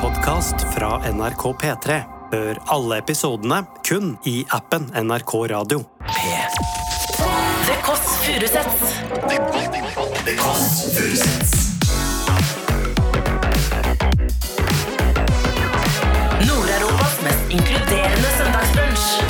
podkast fra NRK P3. Hør alle episodene kun i appen NRK Radio. The Kåss Furuseths. Nord-Europas mest inkluderende søndagsbrunch.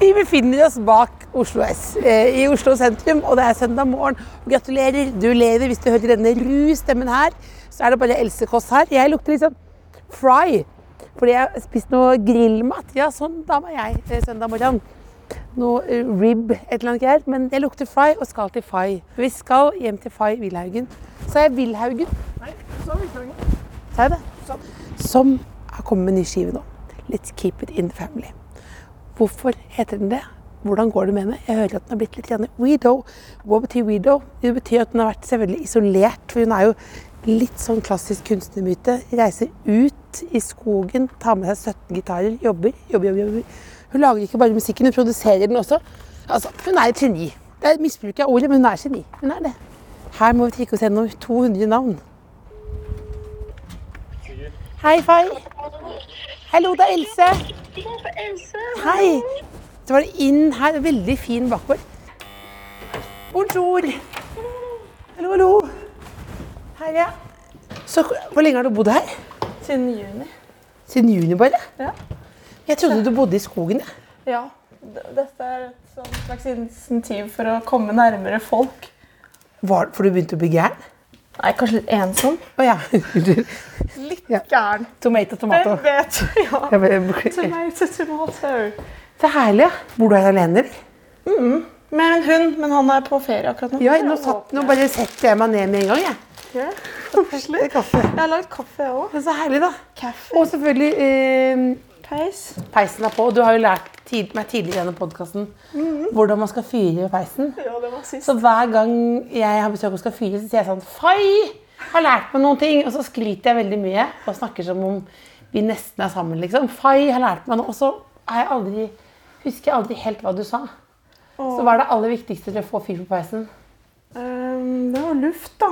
Vi befinner oss bak Oslo S eh, i Oslo sentrum, og det er søndag morgen. Gratulerer, du lever. Hvis du hører denne ru-stemmen her, så er det bare Else Kåss her. Jeg lukter litt sånn fry, fordi jeg har spist noe grillmat. Ja, sånn da var jeg eh, søndag morgen. Noe eh, rib, et eller annet greier. Men jeg lukter fry og skal til Fay. Vi skal hjem til Fay Wilhaugen. Sa jeg Wilhaugen? Sa jeg det? Som har kommet med ny skive nå. Let's keep it in the family. Hvorfor heter den det? Hvordan går det med henne? Jeg hører at den har blitt litt grann weirdo. Hva betyr weirdo? Det betyr at den har vært selvfølgelig isolert, for hun er jo litt sånn klassisk kunstnermyte. Reiser ut i skogen, tar med seg 17 gitarer, jobber, jobber, jobber. jobber. Hun lager ikke bare musikken, hun produserer den også. Altså, hun er et geni. Det er misbruk av ordet, men hun er et geni. Hun er det. Her må vi trikke oss gjennom 200 navn. Hei, Fay. Hallo, det er Else. Hei! Så var det inn her. Veldig fin bakgård. Bonjour. Hallo, hallo. Her, ja. Så hvor lenge har du bodd her? Siden juni. Siden juni, bare? Ja. Jeg trodde du bodde i skogen. jeg. ja. d- Dette er et sånn slags insentiv for å komme nærmere folk. Var, for du begynte å bli gæren? Nei, kanskje litt ensom? Å ja. Unnskyld. Litt Ja. gæren. Tomato, Hvem tomato. vet? Ja. Jeg bare- beklager. Tomato, tomato. Så herlig. ja. Bor du her alene? eller? Med en hund, men han er på ferie akkurat nå. Ja, nå, satt, nå bare setter jeg meg ned med en gang. jeg. Ja, Det er Koselig. Kaffe. Jeg har lagd kaffe, jeg òg. Men så herlig, da. Kaffe. Og selvfølgelig eh, Peis. peisen er på. Og du har jo lært tid, meg tidligere i denne podkasten hvordan man skal fyre ved peisen. Ja, det var sist. Så hver gang jeg har besøk og skal fyre, så sier jeg sånn Fai! Har lært meg noen ting. Og så skryter jeg veldig mye og snakker som om vi nesten er sammen, liksom. Fai har lært meg noe. Og så har jeg aldri, husker jeg aldri helt hva du sa. Så hva er det aller viktigste til å få fyr på peisen? Ehm, det var luft, da.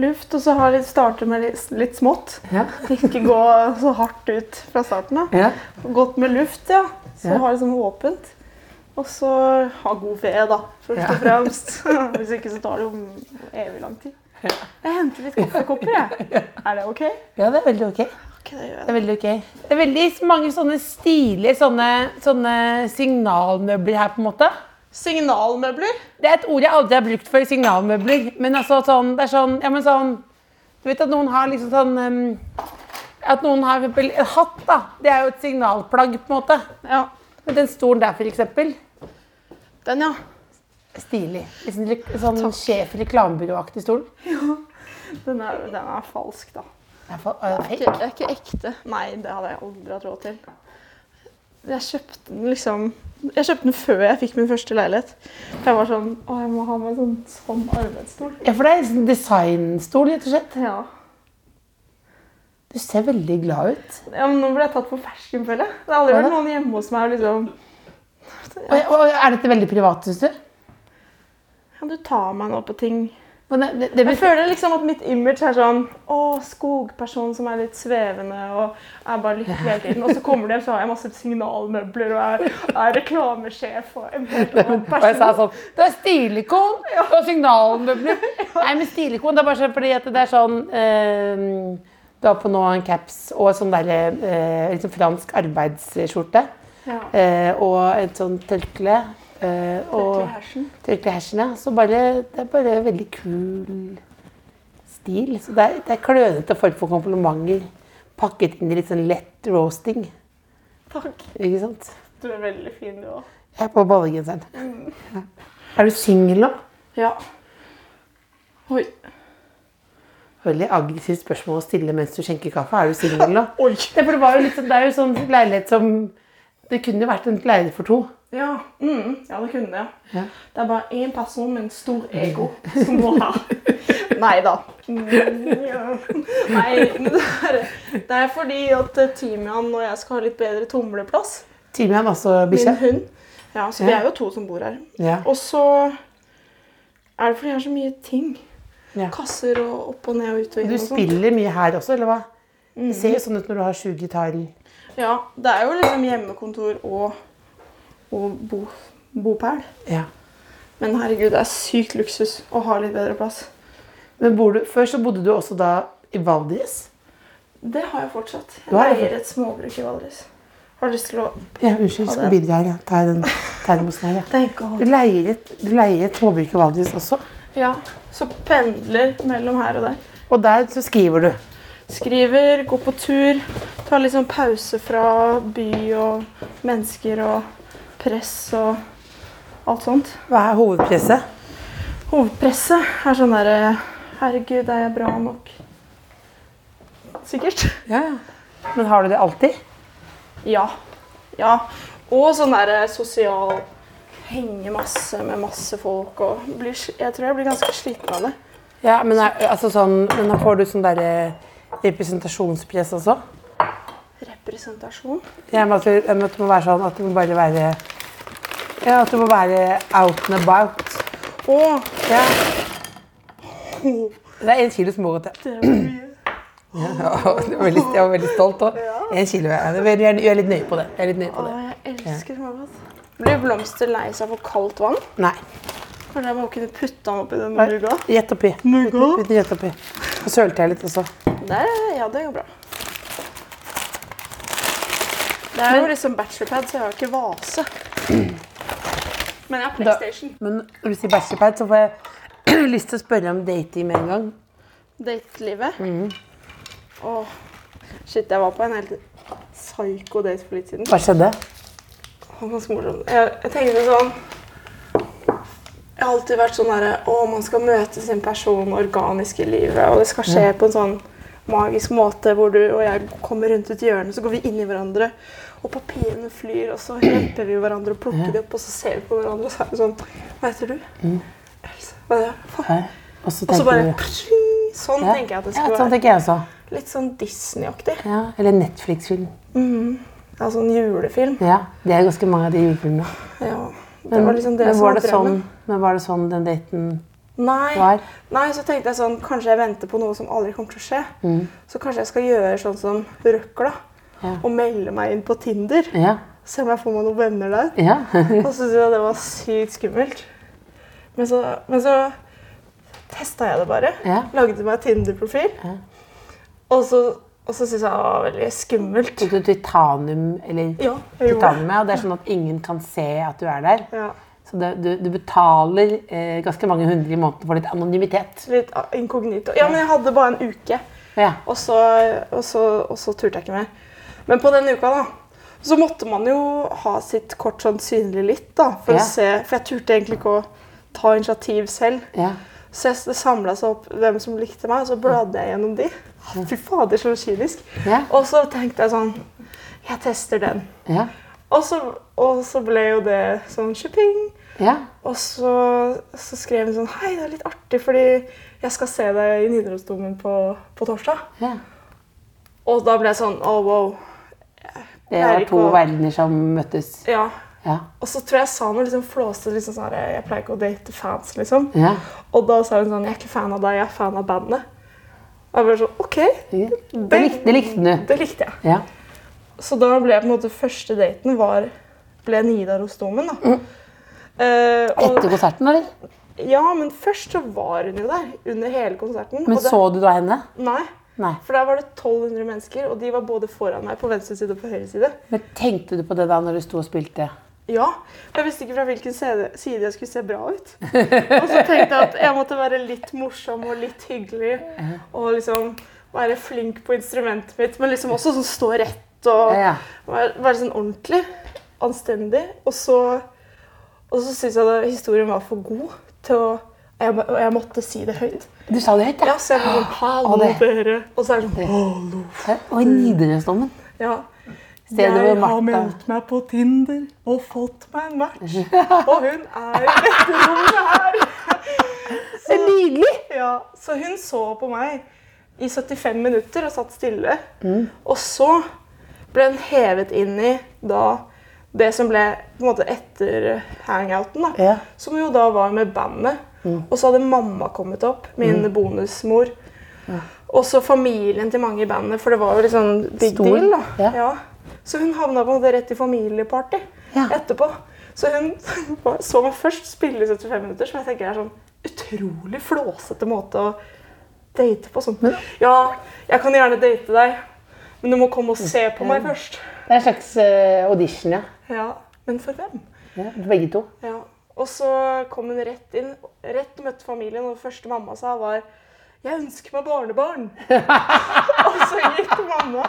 Luft, og så har jeg litt- starte med litt, litt smått. Ja. Ikke gå så hardt ut fra starten av. Ja. Godt med luft, ja. Så Ja. ha liksom åpent. Og så ha god ved, da, først Ja. og fremst. Hvis ikke så tar det jo evig lang tid. Jeg henter litt kaffekopper, jeg. Er det ok? ja, det er veldig ok. Ok, det gjør Det jeg. er veldig ok. Det er veldig mange sånne stilige sånne, sånne signalmøbler her, på en måte. Signalmøbler? Det er et ord jeg aldri har brukt før, signalmøbler. Men altså sånn, det er sånn, ja, men sånn Du vet at noen har liksom sånn ehm, At noen har for eksempel en hatt, da. Det er jo et signalplagg, på en måte. Ja. Men den stolen der, for eksempel. Den, ja. Stilig. Liksom, re- sånn sjef i reklamebyråaktig stol. Den er, den er falsk, da. Det er for- øh, Det fake. er ikke ekte. Nei, det hadde jeg aldri hatt råd til. Jeg kjøpte den liksom Jeg kjøpte den før jeg fikk min første leilighet. Jeg var sånn Å, jeg må ha meg en sånn, sånn arbeidsstol. Ja, for det er en sånn designstol, rett og slett. Ja. Du ser veldig glad ut. Ja, men Nå ble jeg tatt på fersken, føler jeg. Det har aldri Hva vært da? noen hjemme hos meg og liksom Og, og er dette veldig privat, syns du? Kan du ta meg nå på ting? Men det, det, det Jeg blir føler liksom at mitt image er sånn Å, skogperson som er litt svevende og er bare lykkelig hele tiden. Og så kommer de, så har jeg masse signalmøbler og er, er reklamesjef og en helt annen Og jeg sa person. sånn Det er stilikon og signalmøbler. Nei, men stilikon det er bare sånn fordi at det er sånn eh, Du har på nå en caps og sånn derre eh, liksom fransk arbeidsskjorte. Ja. Eh, og et sånn tørkle. Eh, og Tørklehersen. tørkle hersen, ja. Så bare, det er bare veldig kul stil. Så det er, det er klønete form for komplimenter. Pakket inn i litt sånn lett roasting. Takk. Ikke sant? Du er veldig fin, du òg. Jeg er på ballegenseren. Ja. Er du singel nå? Ja. Oi. Veldig aggressivt spørsmål å stille mens du skjenker kaffe. Er du singel nå? Oi. Det, for det, var jo litt sånn, det er jo sånn leilighet som Det kunne jo vært en leilighet for to. Ja, mm, ja det kunne jeg. Ja. Det er bare én person med en stor ego som må ha. Nei da. Nei, det er, det er fordi at eh, Timian og jeg skal ha litt bedre tumleplass. Timian, altså bikkja. Min hund. Ja, så vi er jo to som bor her. Ja. Og så Er det fordi jeg har så mye ting? Ja. Kasser og opp og ned og ut og sånn. inn Du sånn- og sånt. spiller mye her også, eller hva? Det ser jo sånn ut når du har sju gitarer. Ja, det er jo liksom hjemmekontor og, og bo, bopæl. Ja. Men herregud, det er sykt luksus å ha litt bedre plass. Men bor du, før så bodde du også da i Valdres. Det har jeg fortsatt. Du Jeg har det eier et småbruk i Valdres. Har lyst til å Ja, unnskyld, Ha skal det. bidra her. Ja. Ta den termosen her, ja. tenke Du og leier et, du leier et småbruk i Valdres også, Ja, så pendler mellom her og der. og der så skriver du. Skriver, går på tur, tar litt sånn pause fra by og mennesker og press og alt sånt. Hva er hovedpresset? Hovedpresset er sånn derre Herregud, er jeg bra nok? Sikkert. Ja, ja. Men har du det alltid? Ja. Ja. Og sånn derre sosial Henge masse med masse folk og blir, Jeg tror jeg blir ganske sliten av det. Ja, men, er, altså sånn, men da får du sånn derre representasjonspress også? Representasjon. Ja, men at, du, men at det må være sånn at du må bare være Ja, at du må være out and about. Å, Ja. Det er én kilo smågodt, ja. det var mye. Jeg var veldig, jeg var veldig stolt òg. Én kilo. Ja. Jeg er- jeg er litt nøye på det. Jeg er litt nøye Å, på det. jeg elsker smågodt. Blir blomster lei seg for kaldt vann? Nei. Kanskje jeg må kunne putte den oppi den mugga? Rett oppi. Uten rett oppi. Og sølte jeg litt også. Der, ja, det går bra. Det er jo liksom bachelorpad, så jeg har ikke vase. Men jeg har PlayStation. Men når du sier bachelorpad, så får jeg lyst til å spørre om dating med en gang. Datelivet. Mm. Åh, shit, jeg var på en helt psycho date for litt siden. Hva skjedde? Det var ganske morsomt. Jeg, jeg tenkte sånn Jeg har alltid vært sånn derre Å, man skal møte sin person organisk i livet, og det skal skje Mm. på en sånn magisk måte hvor du og jeg kommer rundt et hjørne, så går vi inn i hverandre, og papirene flyr, og så hjelper vi hverandre og plukker de opp, og så ser vi på hverandre, og så er det sånn Hva heter du? Else. Hva er det? Faen. Og så Og så Mm. tenker bare du Sånn Ja. tenker jeg at det Ja, skal sånn være. tenker jeg også. Litt sånn Disney-aktig. Ja, eller Netflix-film. Ja, sånn julefilm. Ja, Det er ganske mange av de julefilmene. Ja. Det var liksom det men, som var var det sånn, drømmen. men var det sånn den daten Nei. var? Nei, så tenkte jeg sånn, kanskje jeg venter på noe som aldri kommer til å skje. Så kanskje jeg skal gjøre sånn som røkla, Mm. Ja. og melde meg inn på Tinder. Ja. Se om jeg får meg noen venner der. ja. Og så syntes jeg det var sykt skummelt. Men så, men så testa jeg det bare. Ja. Lagde meg Tinder-profil. Og så, og så syntes jeg det var veldig skummelt. Tok du titanium, eller Ja, jeg gjorde det. titanium, ja, og det er sånn at ingen kan se at du er der. Ja. Så det, du, du betaler eh, ganske mange hundre i måneden for litt anonymitet. Litt inkognito. Ja, men jeg hadde bare en uke. Ja. Og så, og, så, og så turte jeg ikke mer. Men på den uka, da, så måtte man jo ha sitt kort sånn synlig litt, da. For Ja. å se For jeg turte egentlig ikke å ta initiativ selv. ja. Så jeg, det samla seg opp hvem som likte meg, og så bladde jeg gjennom de. Fy fader, så kynisk. Ja. Og så tenkte jeg sånn Jeg tester den. Ja. Og så, og så ble jo det sånn tjuping. ja. Og så, så skrev hun sånn Hei, det er litt artig, fordi jeg skal se deg i Nidarosdomen på, på torsdag. ja. Og da ble jeg sånn Å, wow. Det Pleier var ikke to å- verdener som møttes. Ja. Ja. Og så tror jeg jeg sa noe liksom flåsete. Liksom sånn her, jeg pleier ikke å date fans, liksom. Ja. Og da sa hun sånn Jeg er ikke fan av deg, jeg er fan av bandet. Og jeg ble sånn OK, Det, likte, det likte du. det likte jeg. Ja. Så da ble jeg på en måte Første daten var ble Nidarosdomen, da. Eh, og, Mm. Etter konserten, eller? ja, men først så var hun jo der under hele konserten. Men og det, så du da henne? Nei. Nei. For der var det 1200 mennesker, og de var både foran meg på venstre side og på høyre side. Men tenkte du på det da når du sto og spilte? Ja, for jeg visste ikke fra hvilken side side jeg skulle se bra ut. Og så tenkte jeg at jeg måtte være litt morsom og litt hyggelig. Og liksom være flink på instrumentet mitt, men liksom også sånn stå rett og Ja, ja. være, være sånn ordentlig. Anstendig. Og så, og så syntes jeg at historien var for god til å jeg, må- jeg måtte si det høyt. Du sa det høyt, Ja, så jeg var Å, sånn Hallo, det- dere. Og så er det sånn Og i Nidarosdomen. Ja. Stedet hvor Martha- meg på Tinder og fått meg en match, Mhm. og hun er i dette rommet her. Det er nydelig! Ja, så hun så på meg i 75 minutter og satt stille. Mm. Og så ble hun hevet inn i da det som ble på en måte etter hangouten, da, Ja. Mm. som jo da var med bandet. Og så hadde mamma kommet opp, min bonusmor. Også familien til mange i bandet, for det var jo litt sånn big Stor, deal. da. ja. Så hun havna på en måte rett i familieparty Ja. etterpå. Så hun var- så meg først spille i 75 minutter, som jeg tenker er sånn utrolig flåsete måte å date på. Sånn. Ja, jeg kan gjerne date deg, men du må komme og se på meg først. Det er en slags eh, audition, ja. Ja, Men for hvem? ja. For begge to. Ja. Og så kom hun rett inn, rett og møtte familien, og det første mamma sa var jeg ønsker meg barnebarn. og så gikk mamma.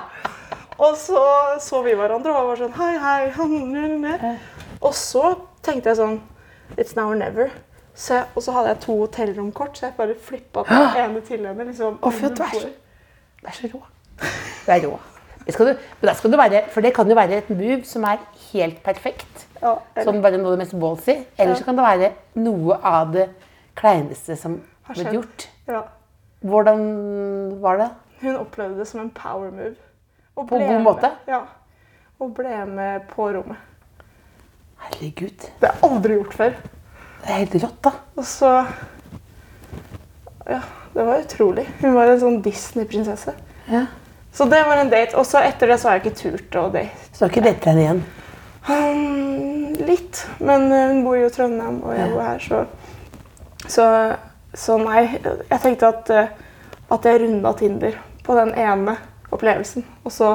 Og så så vi hverandre og var sånn hei, hei. han, han, han». Og så tenkte jeg sånn It's now or never. Så jeg, og så hadde jeg to hotellromkort, så jeg bare flippa den ene til henne. liksom. Å, fy, du er så- Det er så rå. Det er rå. Det skal du, men der skal du være, for det kan jo være et move som er helt perfekt. Ja, eller- Som bare noe av det mest ballsy. Eller så kan det være noe av det kleineste som har blitt skjedd. gjort. ja. Hvordan var det? Hun opplevde det som en power move. Og På ble god med- måte? Ja. Og ble med på rommet. Herregud. Det har jeg aldri gjort før. Det er helt rått, da. Og så Ja, det var utrolig. Hun var en sånn Disney-prinsesse. Ja. Så det var en date. Og så etter det så har jeg ikke turt å date. Så du har ikke dette henne igjen? Hmm, litt. Men eh, hun bor jo i Trondheim, og jeg bor her, så Så, så nei. Jeg tenkte at, eh, at jeg runda Tinder på den ene opplevelsen. Og så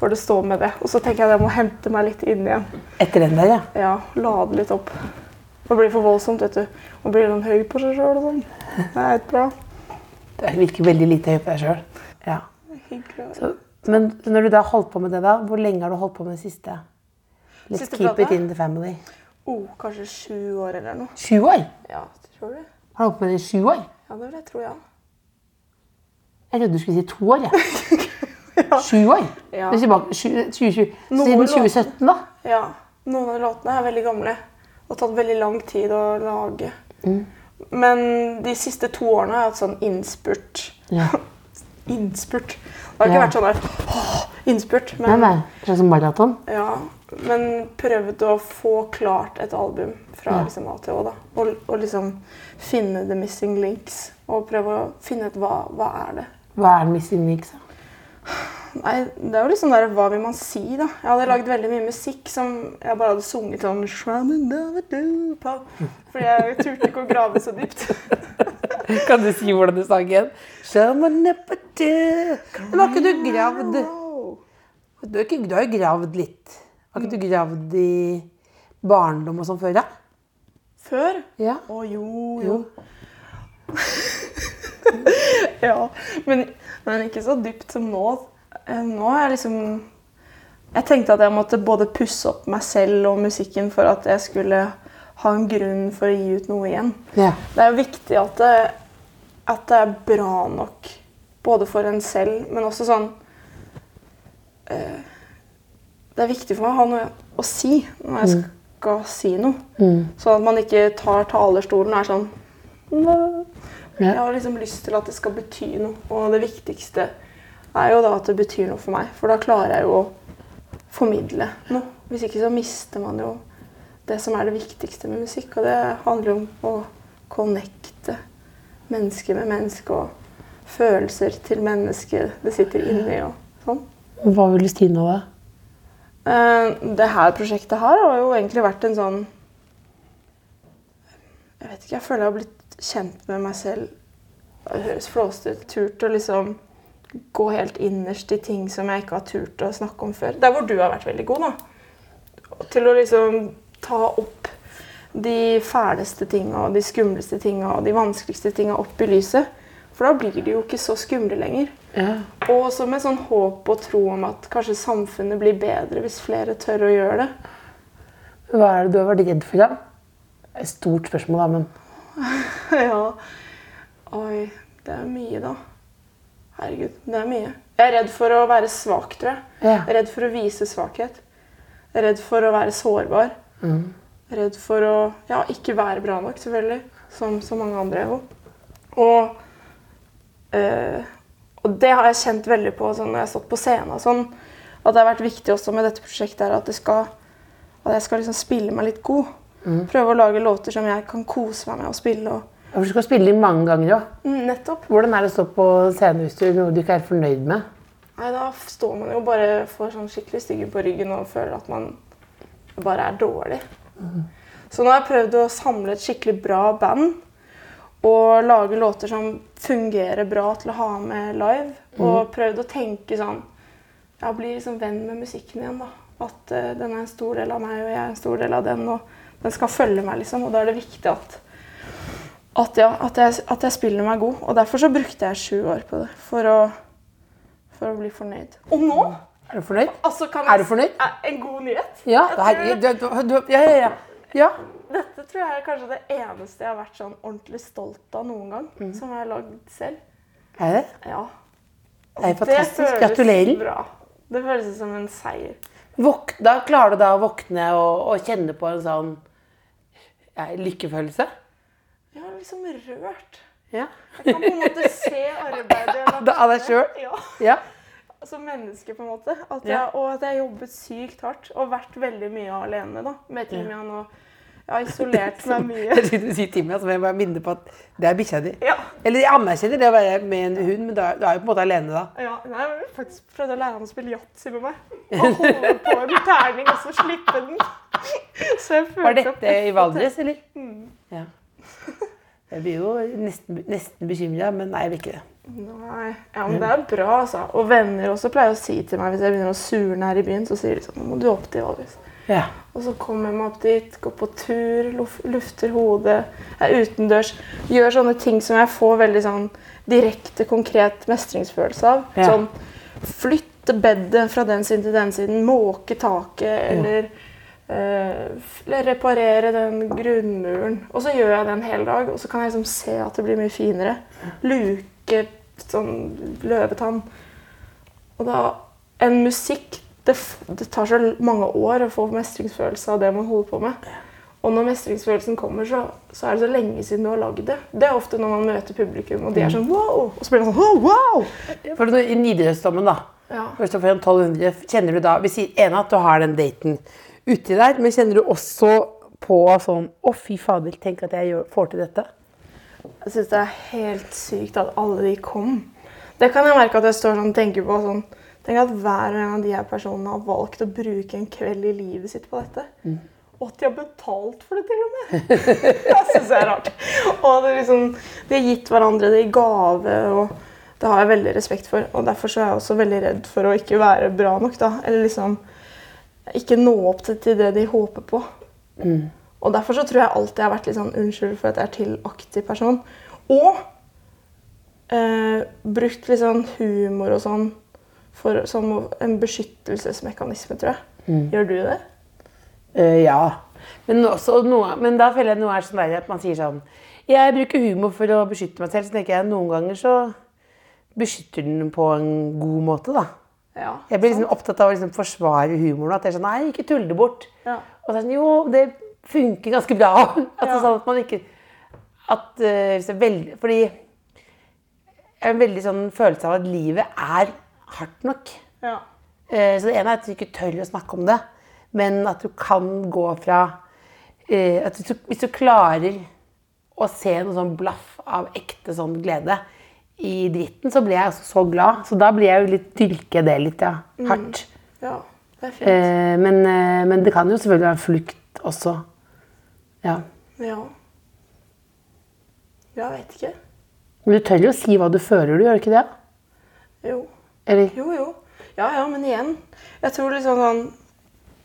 får det stå med det. Og så tenker jeg at jeg må hente meg litt inn igjen. Etter den der, ja. Ja, lade litt opp. Det blir for voldsomt, vet du. Man blir sånn høy på seg sjøl og sånn. Det er ikke bra. Det virker veldig lite høy på deg sjøl. Ja. Hyggelig. Så- Men når du da holdt på med det, da, hvor lenge har du holdt på med det siste? Let's Siste keep it plata? in the family. Oh, kanskje sju år eller noe. Sju år? Ja, tror du? Har du holdt på med det i sju år? Ja, det vil jeg tro, ja. Jeg trodde du skulle si to år, jeg. Sju år? Ja. Du sier bare sju- 2020. Siden låter. 2017, da? ja. Noen av låtene er veldig gamle og tatt veldig lang tid å lage. Men de siste to årene har jeg hatt sånn innspurt. Ja. innspurt. Det har ikke Ja. vært sånn der åh, innspurt, Nei, men, nei. En slags maraton? ja, men prøvd å få klart et album fra liksom, A til Å. da. Og, og liksom finne the missing links. Og prøve å finne ut hva, hva er det Hva er den missing links, da? Nei, det er jo liksom der, hva vil man si, da? Jeg hadde lagd veldig mye musikk som jeg bare hadde sunget sånn «Shramidavadupa», Fordi jeg turte ikke å grave så dypt. Kan du si hvordan du sang igjen? Men har ikke du gravd Du har, ikke, du har jo gravd litt. Har ikke du gravd i barndom og sånn før, da? Før? Ja. Å jo, jo. ja, men, men ikke så dypt som nå. Eh, Nå er jeg liksom Jeg tenkte at jeg måtte både pusse opp meg selv og musikken for at jeg skulle ha en grunn for å gi ut noe igjen. Ja. Det er jo viktig at det, at det er bra nok, både for en selv, men også sånn eh, Det er viktig for meg å ha noe å si når jeg skal si noe. Sånn at man ikke tar talerstolen og er sånn «Nå». Jeg har liksom lyst til at det skal bety noe, og det viktigste er jo da at det betyr noe for meg, for da klarer jeg jo å formidle noe. Hvis ikke så mister man jo det som er det viktigste med musikk, og det handler om å connecte menneske med menneske og følelser til mennesker det sitter inni og sånn. Hva ville Stina da? Eh, Det her prosjektet her har jo egentlig vært en sånn Jeg vet ikke, jeg føler jeg har blitt kjent med meg selv. Det høres flåsete ut. Turt å liksom gå helt innerst i ting som jeg ikke har turt å snakke om før. Der hvor du har vært veldig god, da. Til å liksom ta opp de fæleste tinga og de skumleste tinga og de vanskeligste tinga opp i lyset. For da blir de jo ikke så skumle lenger. Og også med sånn håp og tro om at kanskje samfunnet blir bedre hvis flere tør å gjøre det. Hva er det du har vært redd for, da? Det er Et stort spørsmål, da, men ja. Oi, det er mye, da. Herregud, det er mye. Jeg er redd for å være svak, tror jeg. Ja. Jeg er Redd for å vise svakhet. Jeg er Redd for å være sårbar. Redd for å ja, ikke være bra nok, selvfølgelig. Som så mange andre er jo. Og, eh, og det har jeg kjent veldig på sånn, når jeg har stått på scenen. og Sånn, at det har vært viktig også med dette prosjektet her, at, det skal, at jeg skal liksom spille meg litt god. Prøve å lage låter som jeg kan kose meg med å spille. Og For du skal spille inn mange ganger òg. Mm, Nettopp. Hvordan er det å stå på scenen hvis du er noe du ikke er helt fornøyd med? Nei, da f- står man jo bare får sånn skikkelig stygge på ryggen og føler at man bare er dårlig. Så nå har jeg prøvd å samle et skikkelig bra band og lage låter som fungerer bra til å ha med live. Og prøvd å tenke sånn Jeg blir liksom venn med musikken igjen, da. At eh, den er en stor del av meg, og jeg er en stor del av den, og den skal følge meg, liksom. Og da er det viktig at at, ja, at, jeg, at jeg spiller meg god. Og derfor så brukte jeg sju år på det. For å for å bli fornøyd. Og nå Er du fornøyd? altså kan jeg, Er du fornøyd? Er- En god nyhet? Ja. Jeg herregud, tror, du, du, du, ja, ja, ja. ja. dette tror jeg er kanskje det eneste jeg har vært sånn ordentlig stolt av noen gang. Mhm. Som jeg har lagd selv. Er det? Ja. Det er fantastisk. føles Gratulerer. bra. Det føles som en seier. Våk, da klarer du da å våkne og, og kjenne på en sånn ja, lykkefølelse? Jeg er liksom rørt. Ja. Jeg kan på en måte se arbeidet jeg har Da- av deg ned. selv? Ja. ja. Som menneske, på en måte. At jeg, Ja. Og at jeg har jobbet sykt hardt. Og vært veldig mye alene da, med Timian. Og jeg har isolert meg mye. Jeg skulle si Timian, så må jeg bare minne på at det er bikkja di. Ja. Eller jeg anerkjenner det å være med en hund, men da- du er jo på en måte alene da. Ja, nei, jeg har faktisk prøvd å lære han å spille yatzy med meg. Og holde på en terning og så slippe den. Så jeg Var fulgte opp. dette i Valdres, eller? Ja. Jeg blir jo nesten, nesten bekymra, men nei, jeg blir ikke det. Nei, ja, men det er bra, altså. Og venner også pleier å si til meg hvis jeg begynner å surne her i byen, så sier de sånn Nå må du opp til Valdres. Ja. Og så kommer jeg meg opp dit, går på tur, luf- lufter hodet, er utendørs. Gjør sånne ting som jeg får veldig sånn direkte, konkret mestringsfølelse av. Ja. Sånn flytte bedet fra den siden til den siden, måke taket, eller eh, f- eller reparere den grunnmuren. Og så gjør jeg det en hel dag, og så kan jeg liksom se at det blir mye finere. Luke, sånn løvetann. Og da, en musikk det, f- det tar så mange år å få mestringsfølelse av det man holder på med. Og når mestringsfølelsen kommer, så, så er det så lenge siden du har lagd det. Det er ofte når man møter publikum, og de er sånn wow! Og så blir man sånn «Wow, wow! For nå, I Nidarosdomen, da. Ja. Først og fremst 1200. Kjenner du da Vi sier ene at du har den daten uti der, men kjenner du også på sånn Å, fy fader, tenk at jeg gjør, får til dette. Jeg syns det er helt sykt at alle de kom. Det kan jeg merke at jeg står sånn og tenker på sånn Tenk at hver og en av de her personene har valgt å bruke en kveld i livet sitt på dette. Og at de har betalt for det, til og med. det syns jeg er rart. Og det er liksom, de har gitt hverandre det i gave, og det har jeg veldig respekt for. Og derfor så er jeg også veldig redd for å ikke være bra nok, da. Eller liksom ikke nå opp til, til det de håper på. Og derfor så tror jeg alltid jeg har vært litt sånn unnskyld for at jeg er til-aktig person. Og eh, brukt litt sånn humor og sånn for, som en beskyttelsesmekanisme, tror jeg. Gjør du det? Eh, ja. Men, også, noe, men da føler jeg noe er sånn der at man sier sånn Jeg bruker humor for å beskytte meg selv, så tenker jeg noen ganger så beskytter den på en god måte, da. Ja. Jeg blir liksom opptatt av å liksom forsvare humoren. At det er sånn Nei, ikke tull det bort. Ja. Og så er det sånn Jo, det funker ganske bra. Altså Ja. sånn at man ikke At eh, hvis jeg veldig Fordi jeg har en veldig sånn følelse av at livet er hardt nok. ja. Eh, Så det ene er at du ikke tør å snakke om det, men at du kan gå fra eh, at hvis, du, hvis du klarer å se noe sånn blaff av ekte sånn glede i dritten, så blir jeg altså så glad. Så da blir jeg jo litt dyrke det litt, ja. Hardt. Ja, det er fint. Eh, men, eh, men det kan jo selvfølgelig være flukt også. Ja. Ja. Jeg vet ikke. Men du tør jo å si hva du føler, du, gjør du ikke det? Jo. Eller? Jo, jo. Ja, ja, men igjen. Jeg tror liksom sånn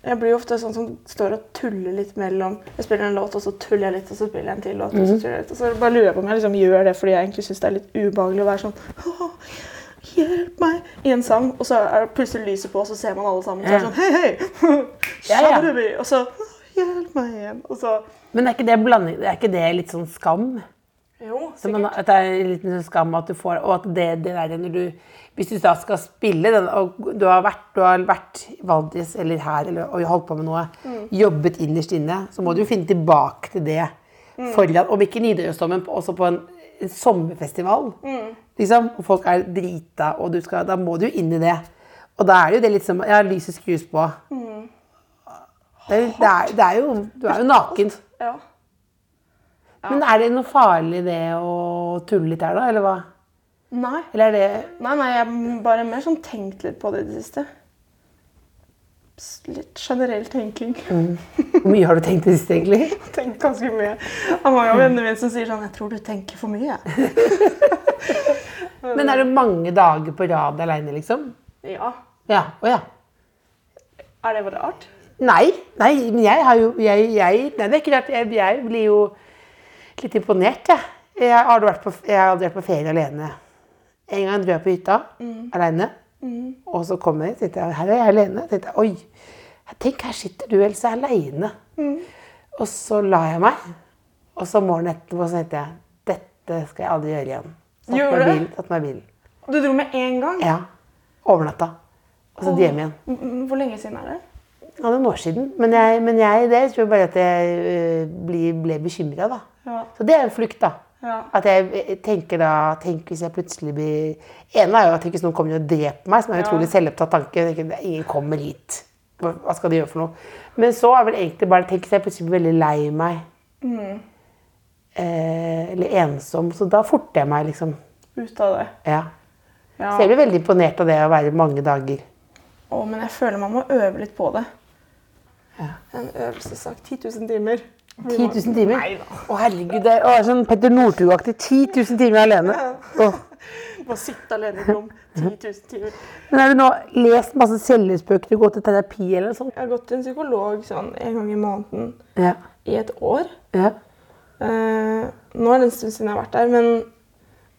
Jeg blir jo ofte sånn som står og tuller litt mellom Jeg spiller en låt, og så tuller jeg litt, og så spiller jeg en til låt, og Mhm. så tuller jeg litt. Og så bare lurer jeg på om jeg liksom gjør det fordi jeg egentlig syns det er litt ubehagelig å være sånn «Åh, Hjelp meg! I en sang, og så er plutselig lyset på, og så ser man alle sammen, og så er det sånn Hei, hei! Ja, ja. Sharubi! Og så «Åh, Hjelp meg igjen! Og så Men er ikke det, blanding, er ikke det litt sånn skam? Jo, Så man, sikkert. at det er litt en skam at du får Og at det, det der når du Hvis du da skal spille den, og du har vært, du har vært i Valdres eller her eller, og holdt på med noe, Mm. jobbet innerst inne, så må du jo finne tilbake til det. Mm. Foran, om ikke Nidarosdomen, også på en, en sommerfestival. Mm. Liksom, og folk er drita, og du skal, da må du jo inn i det. Og da er det jo det litt som Ja, lyset skrus på. Mm. Det, er, det, er, det er jo Du er jo naken. Ja. Men er det noe farlig det å tulle litt her, da? Eller hva? Nei. Eller er det Nei, nei, jeg har bare mer sånn tenkt litt på det i det siste. S- Litt generell tenking. Mm. Hvor mye har du tenkt i det siste, egentlig? Tenkt ganske mye. Det er mange av vennene mine som sier sånn Jeg tror du tenker for mye. jeg». Men er det mange dager på rad aleine, liksom? Ja. Ja. Å ja. Er det bare rart? Nei, nei, men jeg har jo jeg, jeg, Nei, det er ikke rart. Jeg, jeg blir jo litt imponert, jeg. Jeg har aldri vært på, jeg har aldri vært på ferie alene. En gang dro jeg på hytta alene. Og så kom jeg, tenkte jeg, her er jeg alene. Tenkte jeg, Oi, tenk her sitter du, Else, alene. Mm. Og så la jeg meg. Og så morgenen etterpå så tenkte jeg dette skal jeg aldri gjøre igjen. Satt meg Gjorde i du? bilen. Satt meg i bilen. Du dro med én gang? Ja. Overnatta. Og så hjem igjen. Mm, mm, Hvor lenge siden er det? Ja, noen år siden. Men jeg, men jeg det tror jeg bare at jeg øh, bli, ble bekymra, da. Ja. Så det er en flukt, da. Ja. At jeg øh, tenker da Tenk hvis jeg plutselig blir Ene er jo at hvis noen kommer og dreper meg, som er en utrolig selvopptatt tanke. Jeg tenker, Ingen kommer hit. Hva hva skal de gjøre for noe? Men så er vel egentlig bare Tenk hvis jeg plutselig blir veldig lei meg. Mm. Eh, eller ensom. Så da forter jeg meg, liksom. Ut av det. Ja. Ja. Så jeg blir veldig imponert av det å være mange dager. Å, men jeg føler man må øve litt på det. Ja. En øvelsessak. 10 000 timer. 10 000 timer? Å herregud, det er å, det er sånn Petter Northug-aktig. 10 000 timer alene. Åh. Bare sitte alene i et rom. 10 000 timer. Men har du nå lest masse selvhjelpsbøker, gått til terapi eller noe sånt? Jeg har gått til en psykolog sånn en gang i måneden Ja. i et år. ja. Eh, nå er det en stund siden jeg har vært der, men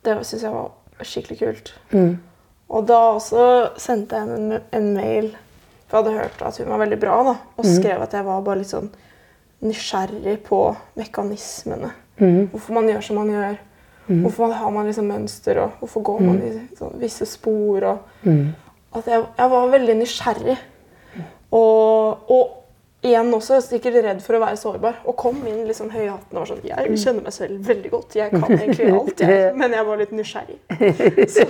det syns jeg var skikkelig kult. Og da også sendte jeg henne en, en mail, for jeg hadde hørt at hun var veldig bra, da, og skrev at jeg var bare litt sånn nysgjerrig på mekanismene. Hvorfor man gjør som man gjør. Hvorfor har man liksom mønster, og hvorfor går man i sånn, visse spor. Og, At jeg, jeg var veldig nysgjerrig. Og, og igjen også sikkert redd for å være sårbar. Og kom inn litt sånn høy i hatten og var sånn Jeg kjenner meg selv veldig godt. Jeg kan egentlig alt, jeg. Men jeg var litt nysgjerrig. Så,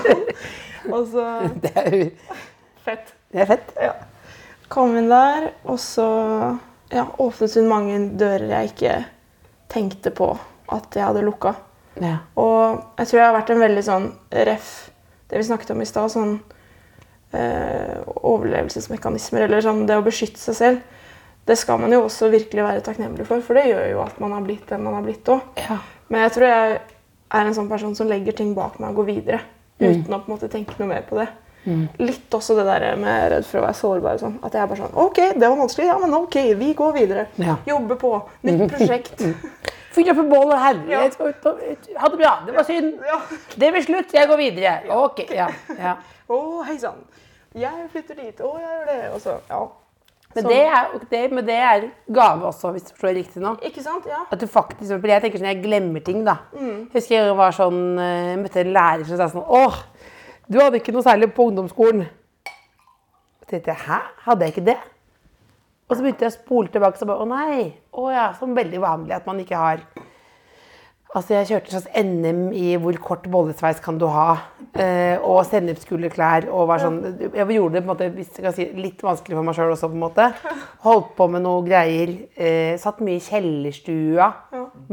og så Det er, jo- Fett. det er fett. Ja. Kom inn der, og så ja, åpnet hun mange dører jeg ikke tenkte på at jeg hadde lukka. Ja. Og jeg tror jeg har vært en veldig sånn ref Det vi snakket om i stad, sånn eh, overlevelsesmekanismer, eller sånn det å beskytte seg selv. Det skal man jo også virkelig være takknemlig for, for det gjør jo at man har blitt den man har blitt òg. Ja. Men jeg tror jeg er en sånn person som legger ting bak meg og går videre. Mm. Uten å på en måte tenke noe mer på det. Litt også det der med redd for å være sårbar. og Sånn, at jeg er bare sånn OK, det var vanskelig. Ja, men OK, vi går videre. Ja. Jobbe på. Nytt prosjekt. Fyr opp en bål og herlighet. og ut- og ut- Ha det bra. Det var synd. Ja. Det blir slutt. Jeg går videre. Ok. Ja. ja. Å, hei sann. Jeg flytter dit. Å, jeg gjør det. Og så, ja. Men, Så- det er, det, men det er gave også, hvis du forstår riktig nå. Ikke sant? Ja. At du faktisk, for jeg tenker sånn, jeg glemmer ting da. Jeg husker jeg var sånn, eh, jeg møtte en lærer som sa sånn, åh, du hadde ikke noe særlig på ungdomsskolen. Så tenkte jeg, hæ? Hadde jeg ikke det? Og så begynte jeg å spole tilbake, så bare, å nei, å ja, som veldig vanlig at man ikke har. Altså, jeg kjørte en slags NM i hvor kort bollesveis kan du ha, eh, og sennepskuleklær, og var sånn, jeg gjorde det på en måte, hvis jeg kan si, litt vanskelig for meg selv også, på en måte. Holdt på med noe greier, eh, satt mye i kjellerstua,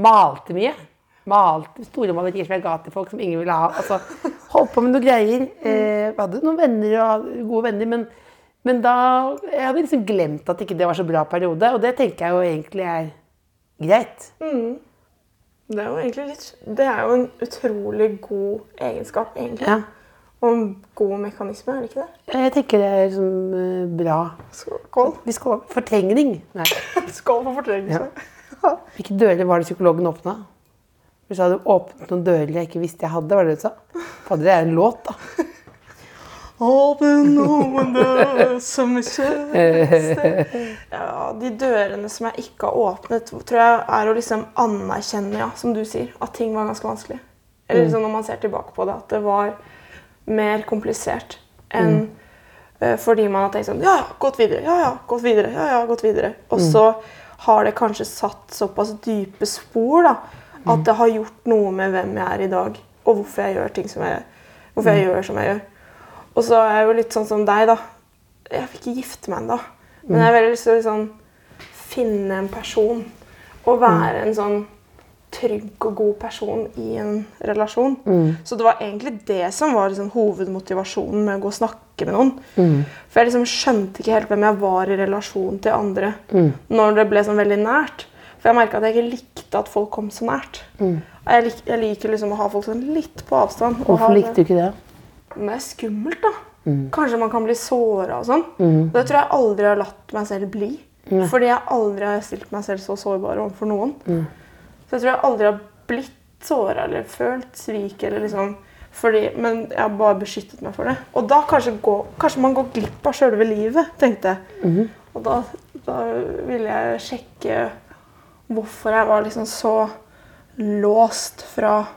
malte mye. Malte store malerier som jeg ga til folk som ingen ville ha. Altså, holdt på med noe greier. Eh, hadde noen venner og gode venner, men, men da, jeg hadde liksom glemt at ikke det var så bra periode, og det tenker jeg jo egentlig er greit. Det er jo egentlig litt Det er jo en utrolig god egenskap, egentlig. Ja. Og en god mekanisme, er det ikke det? Jeg tenker det er liksom, eh, bra. Skål. Vi skal Fortrengning. Nei. Skål for fortrengelse. Hvilke dører var det psykologen åpna? Du sa du åpnet noen dører jeg ikke visste jeg hadde. var det du sa? Fader, det er en låt, da. Åpen noen dører som er kjøste. Ja, de dørene som jeg ikke har åpnet, tror jeg er å liksom anerkjenne, ja, som du sier, at ting var ganske vanskelig. Eller liksom når man ser tilbake på det, at det var mer komplisert enn eh, fordi man har tenkt sånn Ja, ja, gått videre. Ja, ja, gått videre. Ja, ja, gått videre. Og så har det kanskje satt såpass dype spor da, at det har gjort noe med hvem jeg er i dag, og hvorfor jeg gjør ting som jeg gjør. Hvorfor jeg gjør som jeg gjør. Og så er jeg jo litt sånn som deg, da. Jeg vil ikke gifte meg ennå. Men liksom Mm. jeg har veldig lyst til å liksom finne en person. Og være en sånn trygg og god person i en relasjon. Mm. Så det var egentlig det som var liksom, hovedmotivasjonen med å gå og snakke med noen. Mm. For jeg liksom skjønte ikke helt hvem jeg var i relasjon til andre Mm. når det ble sånn veldig nært. For jeg merka at jeg ikke likte at folk kom så nært. Og Jeg, lik, jeg liker liksom å ha folk sånn litt på avstand. og ha Mm. Hvorfor det- likte du ikke det? men det er skummelt, da. Kanskje man kan bli såra og sånn. Og Det tror jeg aldri jeg har latt meg selv bli. Fordi jeg aldri har stilt meg selv så sårbar overfor noen. Så jeg tror jeg aldri har blitt såra eller følt svik eller liksom fordi, Men jeg har bare beskyttet meg for det. Og da kanskje, gå, kanskje man går glipp av sjølve livet, tenkte jeg. Og da, da ville jeg sjekke hvorfor jeg var liksom så låst fra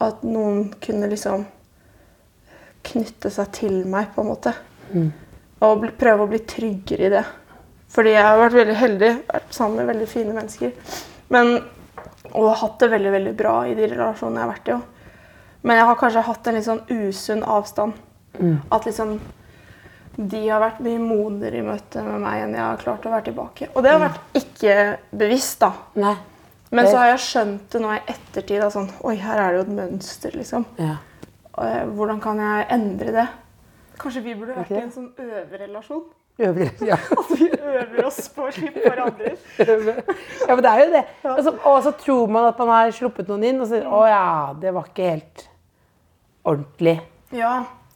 at noen kunne liksom knytte seg til meg, på en måte. Og bli, prøve å bli tryggere i det. Fordi jeg har vært veldig heldig, vært sammen med veldig fine mennesker. Men, og hatt det veldig veldig bra i de relasjonene jeg har vært i. Også. Men jeg har kanskje hatt en litt sånn usunn avstand. At liksom de har vært mye modigere i møte med meg enn jeg har klart å være tilbake. Og det har vært ikke bevisst, da. Nei. Men så har jeg skjønt det nå i ettertid. Da, sånn, Oi, her er det jo et mønster, liksom. Ja. Eh, Hvordan kan jeg endre det? Kanskje vi burde vært ikke i en sånn øverrelasjon? Øvrig. Ja. Vi øver oss på å slippe hverandre. ja, men det er jo det. Og så, og så tror man at man har sluppet noen inn, og så Å ja, det var ikke helt ordentlig. Ja,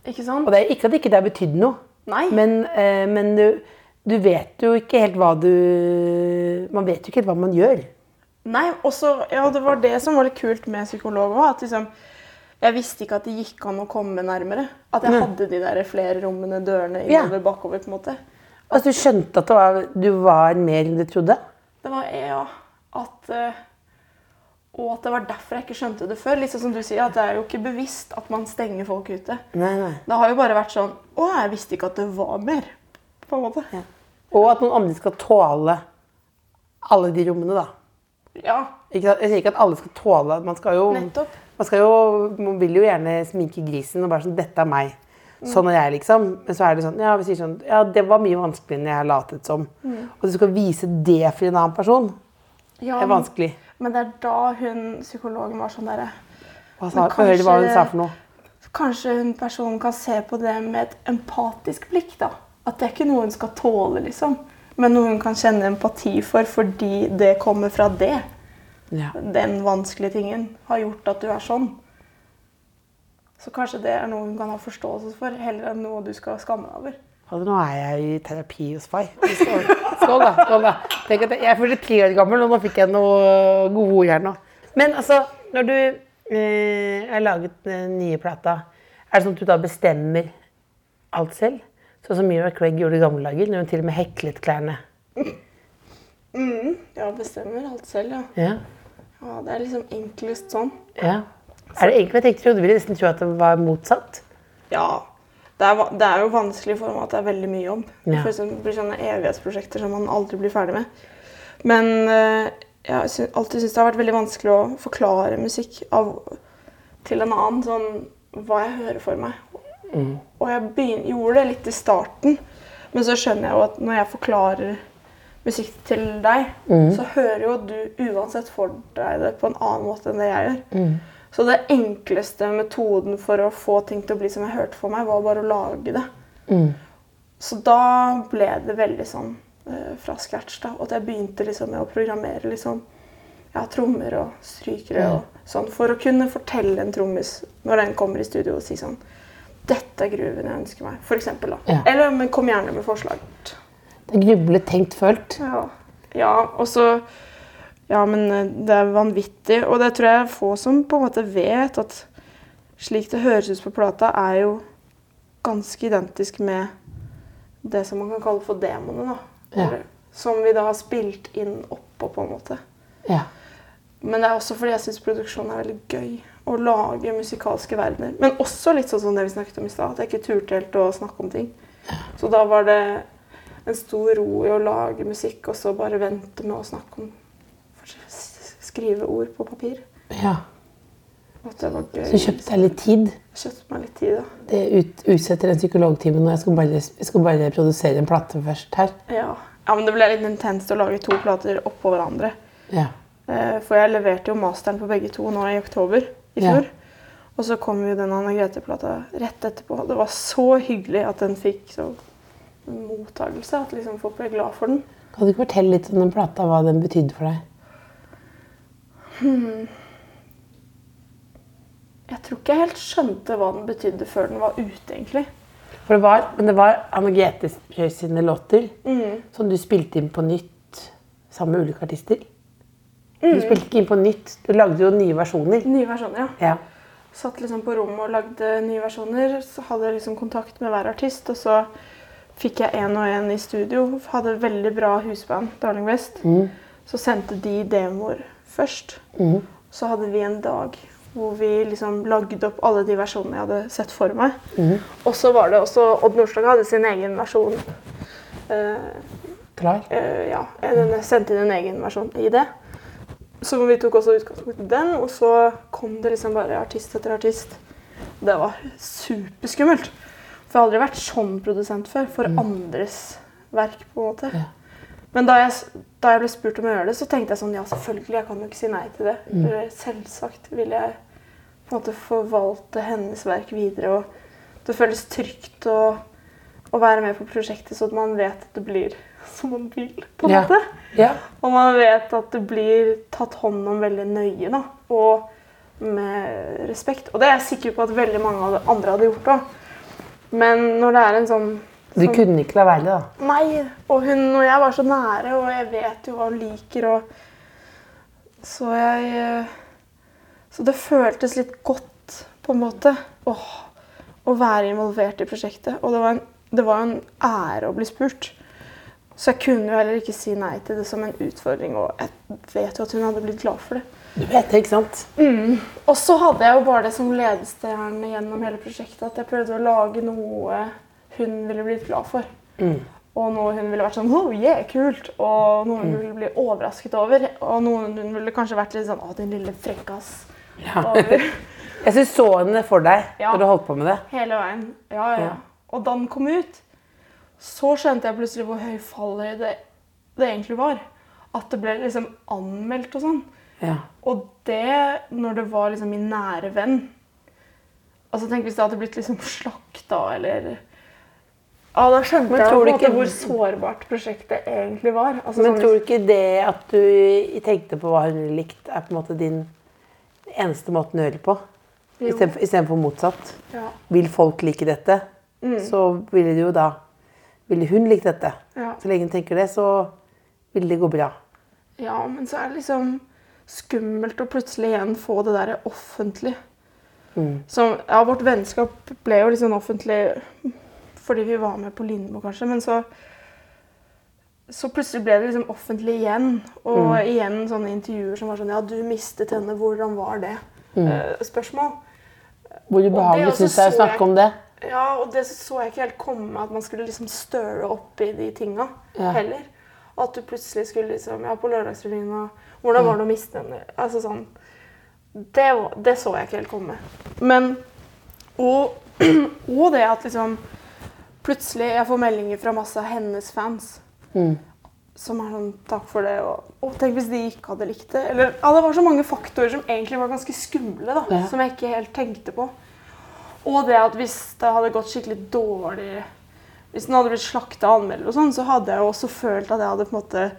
ikke sant? Og det er ikke at det ikke det har betydd noe, Nei. men, eh, men du, du vet jo ikke helt hva du Man vet jo ikke helt hva man gjør. Nei, også, ja, det var det som var litt kult med psykolog òg. At liksom, jeg visste ikke at det gikk an å komme nærmere. At jeg hadde de der flere rommene, dørene Ja. innover, bakover, på en måte. Altså, du skjønte at det var, du var mer enn du trodde? Det var E, ja, at eh, Og at det var derfor jeg ikke skjønte det før. Litt sånn som du sier, at det er jo ikke bevisst at man stenger folk ute. Nei, nei. Det har jo bare vært sånn Å, jeg visste ikke at det var mer. På en måte. Og at noen andre skal tåle alle de rommene, da. Ja, Ikke, sant? jeg sier ikke at alle skal tåle Man skal jo, Nettopp. man skal jo Man vil jo gjerne sminke grisen og bare sånn 'Dette er meg'. Sånn er jeg, liksom. Men så er det sånn Ja, vi sier sånn, ja det var mye vanskeligere enn jeg latet som. Mm. Og du skal vise det for en annen person. ja, Det er vanskelig. Men det er da hun psykologen var sånn derre Hva sa, Men få høre hva hun kanskje- sa for noe. Kanskje hun personen kan se på det med et empatisk blikk, da. At det er ikke noe hun skal tåle, liksom. Men noe hun kan kjenne empati for fordi det kommer fra det. Ja. Den vanskelige tingen har gjort at du er sånn. Så kanskje det er noe hun kan ha forståelse for, heller enn noe du skal skamme deg over. Fader, nå er jeg i terapi hos far. Skål, skål da. skål da. Tenk at jeg jeg er 43 år gammel, og nå fikk jeg noen gode ord her nå. Men altså, når du eh, har laget den nye plata, er det sånn at du da bestemmer alt selv? Sånn som Mira Craig gjorde i gamle dager, når hun til og med heklet klærne. Ja, bestemmer alt selv, ja. Ja, ja. Det er liksom enklest sånn. ja. Er det egentlig jeg tenkte, trodde vi nesten tro at det var motsatt? Ja. Det er, va- det er jo vanskelig for meg at det er veldig mye jobb. Ja. Det føles som det blir sånne evighetsprosjekter som man aldri blir ferdig med. Men eh, jeg har syn- alltid syntes det har vært veldig vanskelig å forklare musikk av, til en annen, sånn hva jeg hører for meg. Og jeg begyn, gjorde det litt i starten, men så skjønner jeg jo at når jeg forklarer musikk til deg, så hører jo du uansett for deg det på en annen måte enn det jeg gjør. Så det enkleste metoden for å få ting til å bli som jeg hørte for meg, var bare å lage det. Så da ble det veldig sånn eh, fra scratch, da. Og at jeg begynte liksom med å programmere liksom ja, trommer og strykere og sånn. For å kunne fortelle en trommis når den kommer i studio og si sånn Dette er grooven jeg ønsker meg. For eksempel, da. Ja. Eller men kom gjerne med forslag. Det er grublet, tenkt, følt. Ja. ja, og så Ja, men eh, det er vanvittig. Og det tror jeg er få som på en måte vet at slik det høres ut på plata, er jo ganske identisk med det som man kan kalle for demoene, da. Ja. Eller, Som vi da har spilt inn oppå, på en måte. Ja. Men det er også fordi jeg syns produksjon er veldig gøy. Å lage musikalske verdener. Men også litt sånn som det vi snakket om i stad, at jeg ikke turte helt å snakke om ting. Så da var det en stor ro i å lage musikk, og så bare vente med å snakke om Skrive ord på papir. ja. At det var gøy. Så kjøpte jeg litt tid. Kjøpte meg litt tid, da. Det ut, utsetter en psykologtime når jeg skal bare, jeg skal bare produsere en plate først her. Ja. ja, men det ble litt intenst å lage to plater oppå hverandre. Ja. Eh, For jeg leverte jo masteren på begge to nå i oktober i Ja. fjor. Og så kom jo den Anne Grete-plata rett etterpå. Det var så hyggelig at den fikk så mottagelse, at liksom folk ble glad for den. Kan du ikke fortelle litt om den plata, hva den betydde for deg? Jeg tror ikke jeg helt skjønte hva den betydde før den var ute, egentlig. For det var, men det var Anne Grete Preus sine låter som du spilte inn på nytt sammen med ulike artister. Du spilte ikke inn på nytt, du lagde jo nye versjoner. Nye versjoner, ja. Ja. Satt liksom på rommet og lagde nye versjoner. Så hadde jeg liksom kontakt med hver artist, og så fikk jeg én og én i studio. Hadde veldig bra husband, Darling West. Så sendte de demoer først. Så hadde vi en dag hvor vi liksom lagde opp alle de versjonene jeg hadde sett for meg. Og så var det også Odd Nordstoga hadde sin egen versjon. Eh, Klar. Eh, ja, den sendte inn en egen versjon i det. Så vi tok også utgangspunkt i den, og så kom det liksom bare artist etter artist. Det var superskummelt. For jeg har aldri vært sånn produsent før, for andres verk, på en måte. Men da jeg, s- da jeg ble spurt om å gjøre det, så tenkte jeg sånn Ja, selvfølgelig, jeg kan jo ikke si nei til det. For Selvsagt vil jeg på en måte forvalte hennes verk videre, og det føles trygt å, å være med på prosjektet, så at man vet at det blir som man vil, på en Ja. måte. Ja. Og man vet at det blir tatt hånd om veldig nøye, da. Og med respekt. Og det er jeg sikker på at veldig mange av de andre hadde gjort òg. Men når det er en sånn Du kunne ikke la være det, da. Nei! Og hun og jeg var så nære, og jeg vet jo hva hun liker, og Så jeg eh, Så det føltes litt godt, på en måte, åh, å være involvert i prosjektet. Og det var en, det var en ære å bli spurt. Så jeg kunne jo heller ikke si nei til det som en utfordring, og jeg vet jo at hun hadde blitt glad for det. Du vet det, ikke sant? Og så hadde jeg jo bare det som ledestjerne gjennom hele prosjektet, at jeg prøvde å lage noe hun ville blitt glad for. Og noe hun ville vært sånn oh, yeah, kult! Og noe hun ville bli overrasket over. Og noe hun ville kanskje vært litt sånn å, din lille frekkas. Over Jeg syns så henne for deg Ja. når du holdt på med det. hele veien. Ja, ja, ja. Og da den kom ut, så skjønte jeg plutselig hvor høy fallhøyde det egentlig var. At det ble liksom anmeldt og sånn. Ja. Og det, når det var liksom min nære venn Altså tenk hvis det hadde blitt liksom slakta, eller Ja, da skjønte jeg på tror en du måte ikke- hvor sårbart prosjektet egentlig var. Altså, Men sånn- tror du ikke det at du tenkte på hva hun likte, er på en måte din eneste måten å høre på? Istedenfor istedenfor motsatt. ja, Vil folk like dette, Mm. så ville det jo da Ville hun like dette? Ja. Så lenge hun tenker det, så vil det gå bra. ja, men så er det liksom skummelt å plutselig igjen få det derre offentlig. Så, ja, vårt vennskap ble jo liksom offentlig fordi vi var med på Lindmo, kanskje, men så så plutselig ble det liksom offentlig igjen. Og igjen sånne intervjuer som var sånn Ja, du mistet henne. Hvordan var det? Eh, spørsmål. Hvor Og ubehagelig det syns også jeg å så jeg- snakke om det? Ja, og det så jeg ikke helt komme, at man skulle liksom støre opp i de tinga Ja. heller. Og at du plutselig skulle liksom Ja, på Lørdagsrevyen og Hvordan var det å miste henne? Altså sånn Det, var, det så jeg ikke helt komme. Men Og, og det at liksom Plutselig jeg får meldinger fra masse av hennes fans. Mm. Som er sånn Takk for det. Og, og tenk hvis de ikke hadde likt det. Eller Ja, det var så mange faktorer som egentlig var ganske skumle, da. Ja. Som jeg ikke helt tenkte på. Og det at hvis det hadde gått skikkelig dårlig Hvis den hadde blitt slakta av anmelder og sånn, så hadde jeg jo også følt at jeg hadde på en måte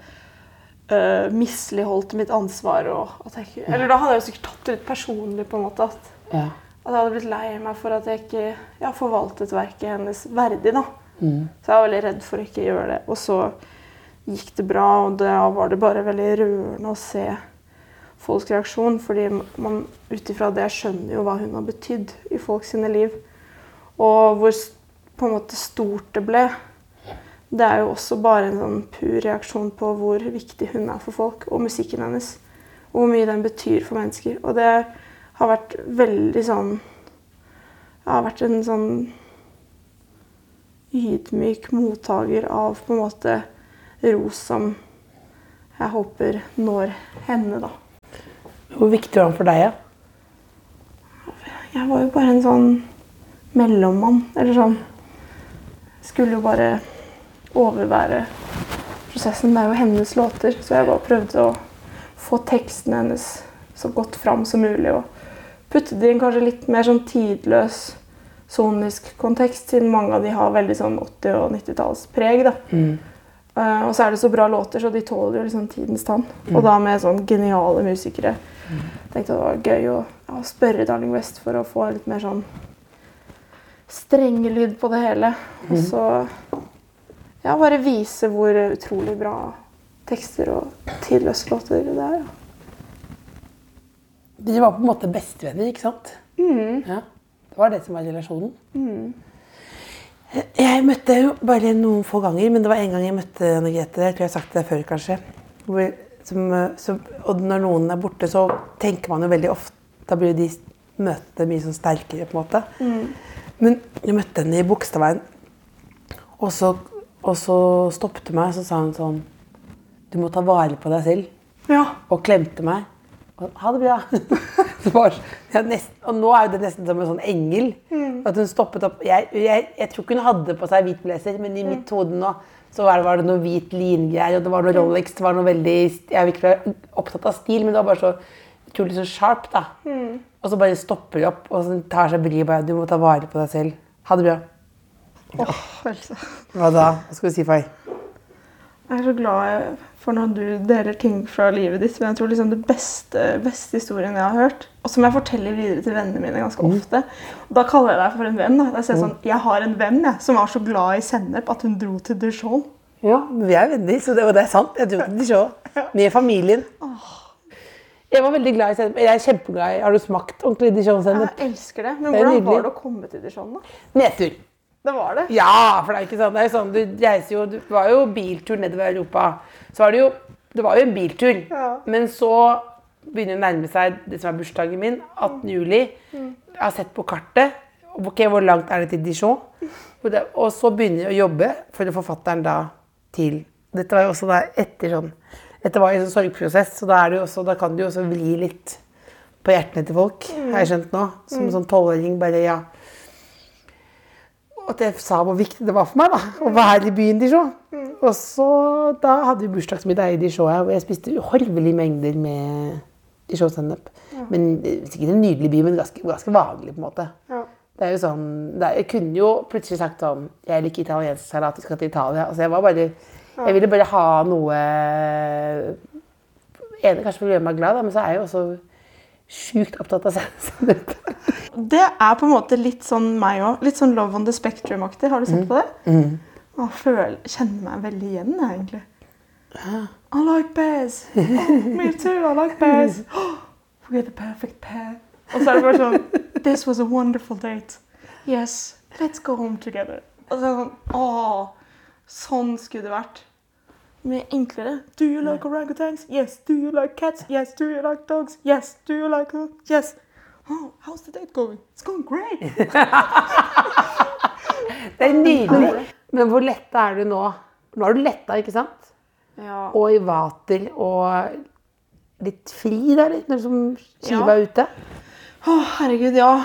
øh, misligholdt mitt ansvar. Og, at jeg, ikke- eller da hadde jeg jo sikkert tatt det ut personlig, på en måte. At, Ja. at jeg hadde blitt lei meg for at jeg ikke ja, forvaltet verket hennes verdig. da. Så jeg var veldig redd for å ikke gjøre det. Og så gikk det bra, og da var det bare veldig rørende å se folks reaksjon. fordi man ut ifra det skjønner jo hva hun har betydd i folks sine liv. Og hvor s- på en måte stort det ble. Det er jo også bare en sånn pur reaksjon på hvor viktig hun er for folk, og musikken hennes. Og hvor mye den betyr for mennesker. Og det har vært veldig sånn Jeg har vært en sånn ydmyk mottaker av på en måte ros som jeg håper når henne, da. Hvor viktig var han for deg, ja? Jeg var jo bare en sånn mellommann, eller sånn. Skulle jo bare overvære prosessen. Det er jo hennes låter, så jeg bare prøvde å få teksten hennes så godt fram som mulig. Og putte det i en kanskje litt mer sånn tidløs sonisk kontekst, siden mange av de har veldig sånn 80- og 90-tallspreg. da. Eh, og så er det så bra låter, så de tåler jo liksom tidens tann. Og da med sånn geniale musikere. Tenkte det var gøy å, å spørre Darling West for å få litt mer sånn streng lyd på det hele. Og så ja, bare vise hvor utrolig bra tekster og tidløse låter det er. da. Dere var på en måte bestevenner, ikke sant? Ja. Det var det som var relasjonen. Jeg møtte jo bare noen få ganger, men det var en gang jeg møtte Anne Grete. Jeg tror jeg har sagt det før, kanskje. Hvor, som, eh, som, og når noen er borte, så tenker man jo veldig ofte Da blir jo de møtene mye sånn sterkere, på en måte. Men jeg møtte henne i Bogstadveien, og så, og så stoppet hun meg, og så sa hun sånn Du må ta vare på deg selv Ja. og klemte meg. Og ha det bra. det var, ja, nesten, og nå er jo det nesten som en sånn engel. At hun stoppet opp. Jeg, jeg, jeg tror ikke hun hadde på seg hvit blazer, men i mitt hode nå så var det, var det noe hvit lingreier, og det var noe Rolex. Det var noe veldig, jeg er virkelig opptatt av stil, men det var bare så utrolig så sharp. da. Og så bare stopper de opp og så tar seg bryet. bare, Du må ta vare på deg selv. Ha det bra. Hva da? Hva skal du si, Fay? Jeg er så glad for når du deler ting fra livet ditt, men jeg tror liksom det beste, beste historien jeg har hørt, og som jeg forteller videre til vennene mine ganske ofte og Da kaller jeg deg for en venn. da. Da sier Jeg sånn, jeg har en venn jeg, som var så glad i sennep at hun dro til Dijon. Ja, men vi er venner, så det, og det er sant. Jeg dro til Dijon med familien. Jeg var veldig glad i sennep. Jeg er kjempeglad i Har du smakt ordentlig Dijon-sennep? Jeg elsker det. Men Det er hvordan nydelig. var det å komme til Dijon, da? Nedtur. Det var det. Ja, for det er ikke sånn. Det er jo sånn, du reiser jo Du var jo biltur nedover Europa. Så var det jo Det var jo en biltur. Ja. Men så begynner det å nærme seg det som er bursdagen min. 18. juli. Mm. Jeg har sett på kartet. Ok, hvor langt er det til Dijon? Og det- Og så begynner jeg å jobbe for forfatteren da til Dette var jo også da etter sånn Dette var jo en sånn sorgprosess, så da, er det jo også, da kan det jo også vri litt på hjertene til folk, har jeg Mm. skjønt nå. Som sånn tolvåring bare ja. Og at jeg sa hvor viktig det var for meg da, å være i byen Dijon. Og så da hadde vi bursdagsmiddag i Dijon, ja, og jeg spiste uhorvelige mengder med Dijon-sennep. Men eh, sikkert en nydelig by, men ganske, ganske vanlig på en måte. Ja. Det er jo sånn, det er, jeg kunne jo plutselig sagt sånn, jeg liker italiensk salat, vi skal til Italia. Altså jeg var bare, jeg ville bare ha noe, ene kanskje for å gjøre meg glad da, men så er jeg jo også sykt opptatt av sen- sennep. Det er på en måte litt sånn meg òg. Litt sånn Love on the Spectrum-aktig. Har du sett på det? Mm. Jeg føler, kjenner meg veldig igjen, jeg, egentlig. I like bears. Oh, me too, I like bears. Oh, we're the perfect pair. Og så er det bare sånn This was a wonderful date. Yes, let's go home together. Og så er det sånn Åh, sånn skulle det vært. Mye enklere. Do you like orangutans? Yes. Do you like cats? Yes. Do you like dogs? Yes. Do you like Yes. Oh, how's the date going? It's going great. Det er nydelig. Men hvor letta er du nå? Nå er du letta, ikke sant? Ja. Og i vater og litt fri der, litt, når som skiva er ute. Å, herregud, ja.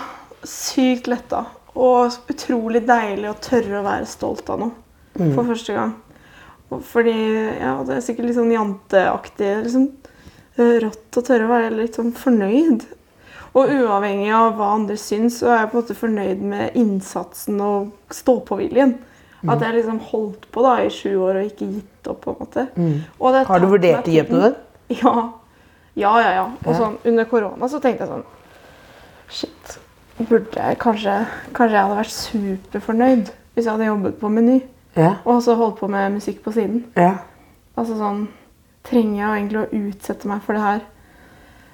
Sykt letta. Og utrolig deilig å tørre å være stolt av noe. Mm. For første gang. Og Fordi ja, det er sikkert litt sånn janteaktig. Liksom, eh, rått å tørre å være litt sånn fornøyd. Og uavhengig av hva andre syns, så er jeg på en måte fornøyd med innsatsen og stå-på-viljen. Mm. At jeg liksom holdt på da i sju år og ikke gitt opp, på en måte. Og det Mm. Har du tatt meg vurdert å gi opp tiden. noe? Ja. Ja, ja, ja. Og sånn, under korona så tenkte jeg sånn Shit. Burde jeg kanskje Kanskje jeg hadde vært superfornøyd hvis jeg hadde jobbet på Meny Ja. og så holdt på med musikk på siden. ja. Altså sånn Trenger jeg egentlig å utsette meg for det her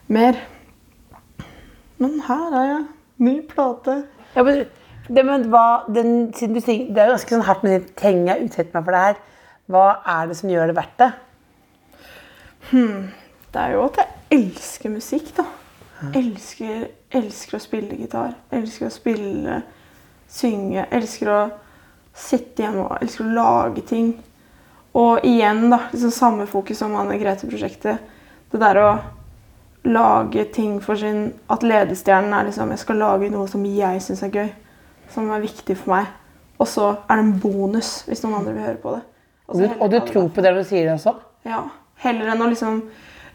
mer? Men her er jeg. Ny plate. men, det, men hva, den, siden du sier, det er jo ganske sånn hardt, men jeg trenger jeg utsette meg for det her? Hva er det som gjør det verdt det? Det er jo at jeg elsker musikk, da. Elsker, elsker å spille gitar. Elsker å spille, synge. Elsker å sitte hjemme og elsker å lage ting. Og igjen, da, liksom samme fokus som Anne Grete-prosjektet. Det der å lage ting for sin At ledestjernen er liksom Jeg skal lage noe som jeg syns er gøy. Som er viktig for meg. Og så er det en bonus hvis noen andre vil høre på det. så Og du, heller og du ta det tror på det du sier også? ja. Heller enn å liksom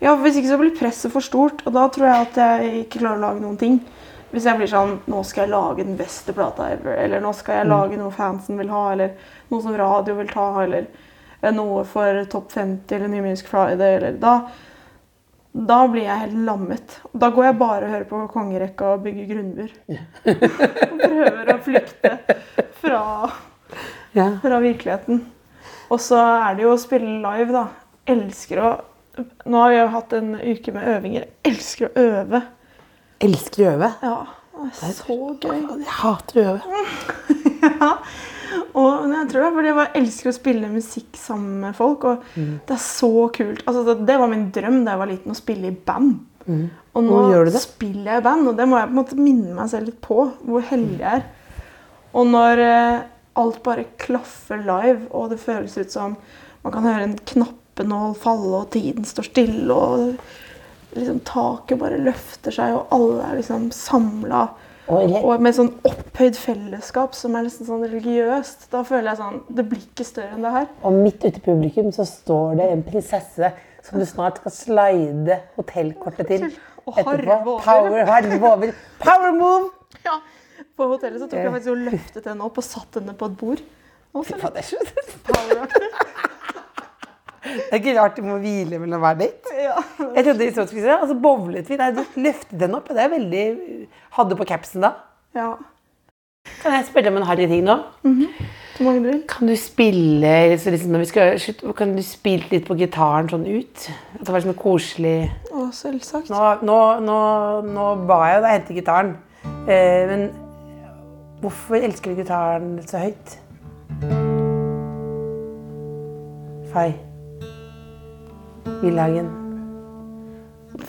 Ja, Hvis ikke så blir presset for stort, og da tror jeg at jeg ikke klarer å lage noen ting. Hvis jeg blir sånn Nå skal jeg lage den beste plata ever. Eller nå skal jeg lage noe fansen vil ha, eller noe som radio vil ta, eller eh, noe for Topp 50 eller New Music Friday, eller da da blir jeg helt lammet. Da går jeg bare og hører på kongerekka og bygger grunnmur. og prøver å flykte fra Ja. fra virkeligheten. Og så er det jo å spille live, da. Elsker å Nå har jeg jo hatt en uke med øvinger. Elsker å øve. Elsker å øve. Ja, det er så gøy. Jeg hater å øve. Ja. Og men jeg tror det er fordi jeg bare elsker å spille musikk sammen med folk. Og Mm. det er så kult. Altså, det, det var min drøm da jeg var liten, å spille i band. Og nå, Nå Mm. gjør du det. spiller jeg i band, og det må jeg på en måte minne meg selv litt på. Hvor Mm. heldig jeg er. Og når eh, alt bare klaffer live, og det føles ut som man kan høre en knappenål falle, og tiden står stille, og liksom taket bare løfter seg, og alle er liksom samla. Og jeg- Og med sånn opphøyd fellesskap som er nesten sånn religiøst. Da føler jeg sånn Det blir ikke større enn det her. Og midt ute i publikum så står det en prinsesse som du snart skal slide hotellkortet til. Og Etterpå. harve over. Power, harve over. Power move! Ja. På hotellet så tok jeg faktisk og løftet henne opp og satt henne på et bord. Og så Ja, Det er ikke- poweraktig. det er ikke rart du må hvile mellom hver date. Ja. Jeg trodde i så skulle si det, altså bowlet vi. Nei, du løftet den opp. Det er veldig Hadde på capsen da. ja. Kan jeg spørre om en harry ting nå? Så mange du vil. Kan du spille så liksom, når vi skal, slutt, Kan du spille litt på gitaren sånn ut? At det var sånn koselig Å, selvsagt. Nå, nå, nå, nå ba jeg deg hente gitaren. Eh, men hvorfor elsker du gitaren så høyt? Fei. Villhagen.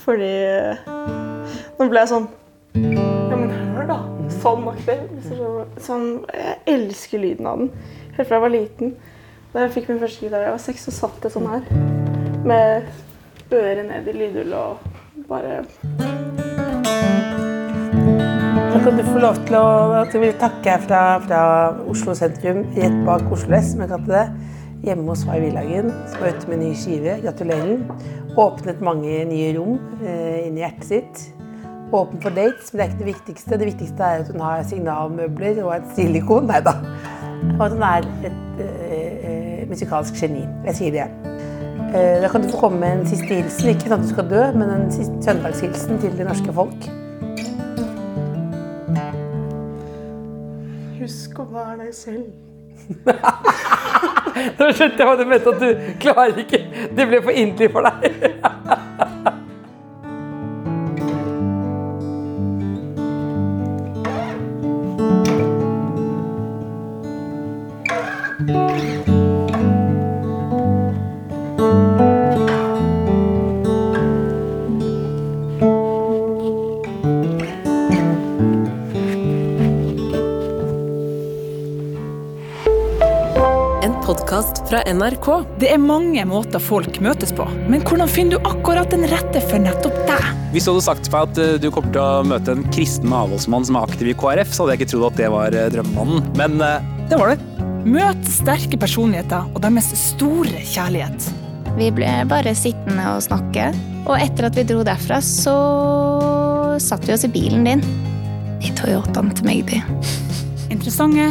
Fordi eh, Nå ble jeg sånn Ja, men hør, da. Sånn aktig. hvis du skjønner. Sånn, jeg elsker lyden av den. Helt fra jeg var liten. Da jeg fikk min første gitar da jeg var seks, så satt jeg sånn her. Med øret ned i lydhullet og bare Nå kan du få lov til å at jeg vil takke her fra, fra Oslo sentrum, rett bak Oslo S, som jeg kalte det. Hjemme hos Fay Villhagen, som er ute med ny skive. Gratulerer. Åpnet mange nye rom eh, inni hjertet sitt. Åpen for dates, men det er ikke det viktigste. Det viktigste er at hun har signalmøbler og et stilikon. Nei da. Og at hun er et eh, eh, musikalsk geni. Jeg sier det, jeg. Eh, Da kan du få komme med en siste hilsen. Ikke sånn at du skal dø, men en siste søndagshilsen til det norske folk. Husk å være deg selv. Nå skjønte jeg hva du mente, at du klarer ikke. Det ble for inderlig for deg. En podkast fra NRK. Det er mange måter folk møtes på, men hvordan finner du akkurat den rette for nettopp deg? Hvis du hadde sagt til meg at eh, du kommer til å møte en kristen avholdsmann som er aktiv i KrF, så hadde jeg ikke trodd at det var eh, drømmemannen. Men eh, det var det. Møt sterke personligheter og deres store kjærlighet. Vi ble bare sittende og snakke. Og etter at vi dro derfra, så satt vi oss i bilen din. I Toyotaen til Magdi. Interessante,